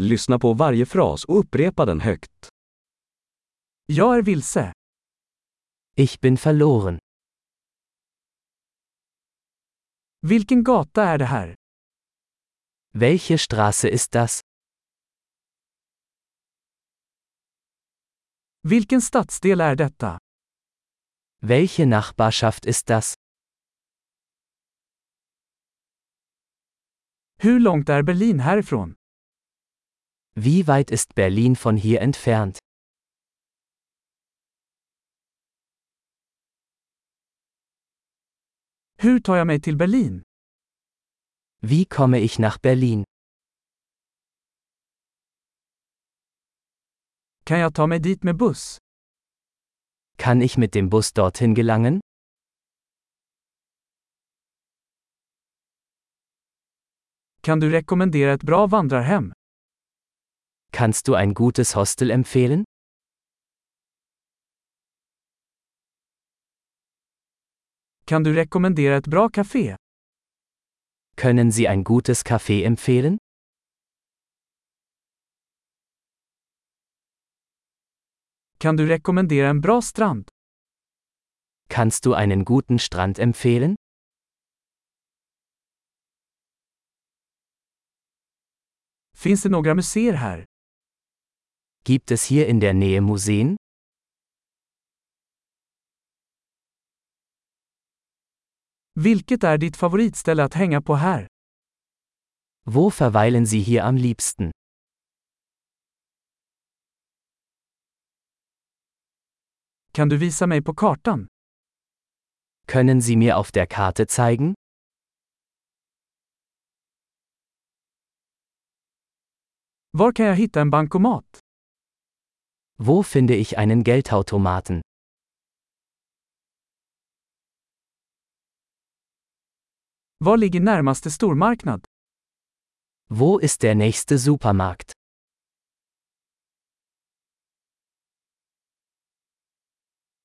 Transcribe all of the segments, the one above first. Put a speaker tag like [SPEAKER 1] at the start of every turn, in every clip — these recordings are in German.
[SPEAKER 1] Lyssna på varje fras och upprepa den högt.
[SPEAKER 2] Jag är vilse.
[SPEAKER 3] Ich bin verloren.
[SPEAKER 2] Vilken gata är det här?
[SPEAKER 3] Welche Straße ist das?
[SPEAKER 2] Vilken stadsdel är detta?
[SPEAKER 3] Welche Nachbarschaft ist das?
[SPEAKER 2] Hur långt är Berlin härifrån?
[SPEAKER 3] Wie weit ist Berlin von hier entfernt?
[SPEAKER 2] Hur tar jag mig till Berlin?
[SPEAKER 3] Wie komme ich nach Berlin?
[SPEAKER 2] Kan jag ta mig dit med buss?
[SPEAKER 3] Kann ich mit dem Bus dorthin gelangen?
[SPEAKER 2] Kan du rekommendera ett bra vandrarhem?
[SPEAKER 3] Kannst du ein gutes Hostel empfehlen?
[SPEAKER 2] Kan du rekommendera ett bra café?
[SPEAKER 3] Können Sie ein gutes Café empfehlen?
[SPEAKER 2] Kan du rekommendera en bra strand?
[SPEAKER 3] Kannst du einen guten Strand empfehlen?
[SPEAKER 2] Finns det några museer här?
[SPEAKER 3] Gibt es hier in der Nähe Museen?
[SPEAKER 2] Vilket är ditt favoritställe att hänga på här?
[SPEAKER 3] Wo verweilen Sie hier am liebsten?
[SPEAKER 2] Kan du visa mig på kartan?
[SPEAKER 3] Können Sie mir auf der Karte zeigen?
[SPEAKER 2] Var kan jag hitta en bankomat?
[SPEAKER 3] Wo finde ich einen Geldautomaten?
[SPEAKER 2] Var ligger närmaste stormarknad?
[SPEAKER 3] Wo ist der nächste Supermarkt?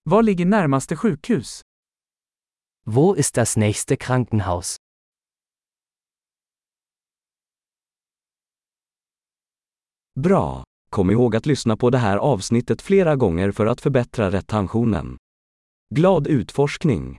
[SPEAKER 2] Var ligger närmaste sjukhus?
[SPEAKER 3] Wo ist das nächste Krankenhaus?
[SPEAKER 1] Bra! Kom ihåg att lyssna på det här avsnittet flera gånger för att förbättra retentionen. Glad utforskning!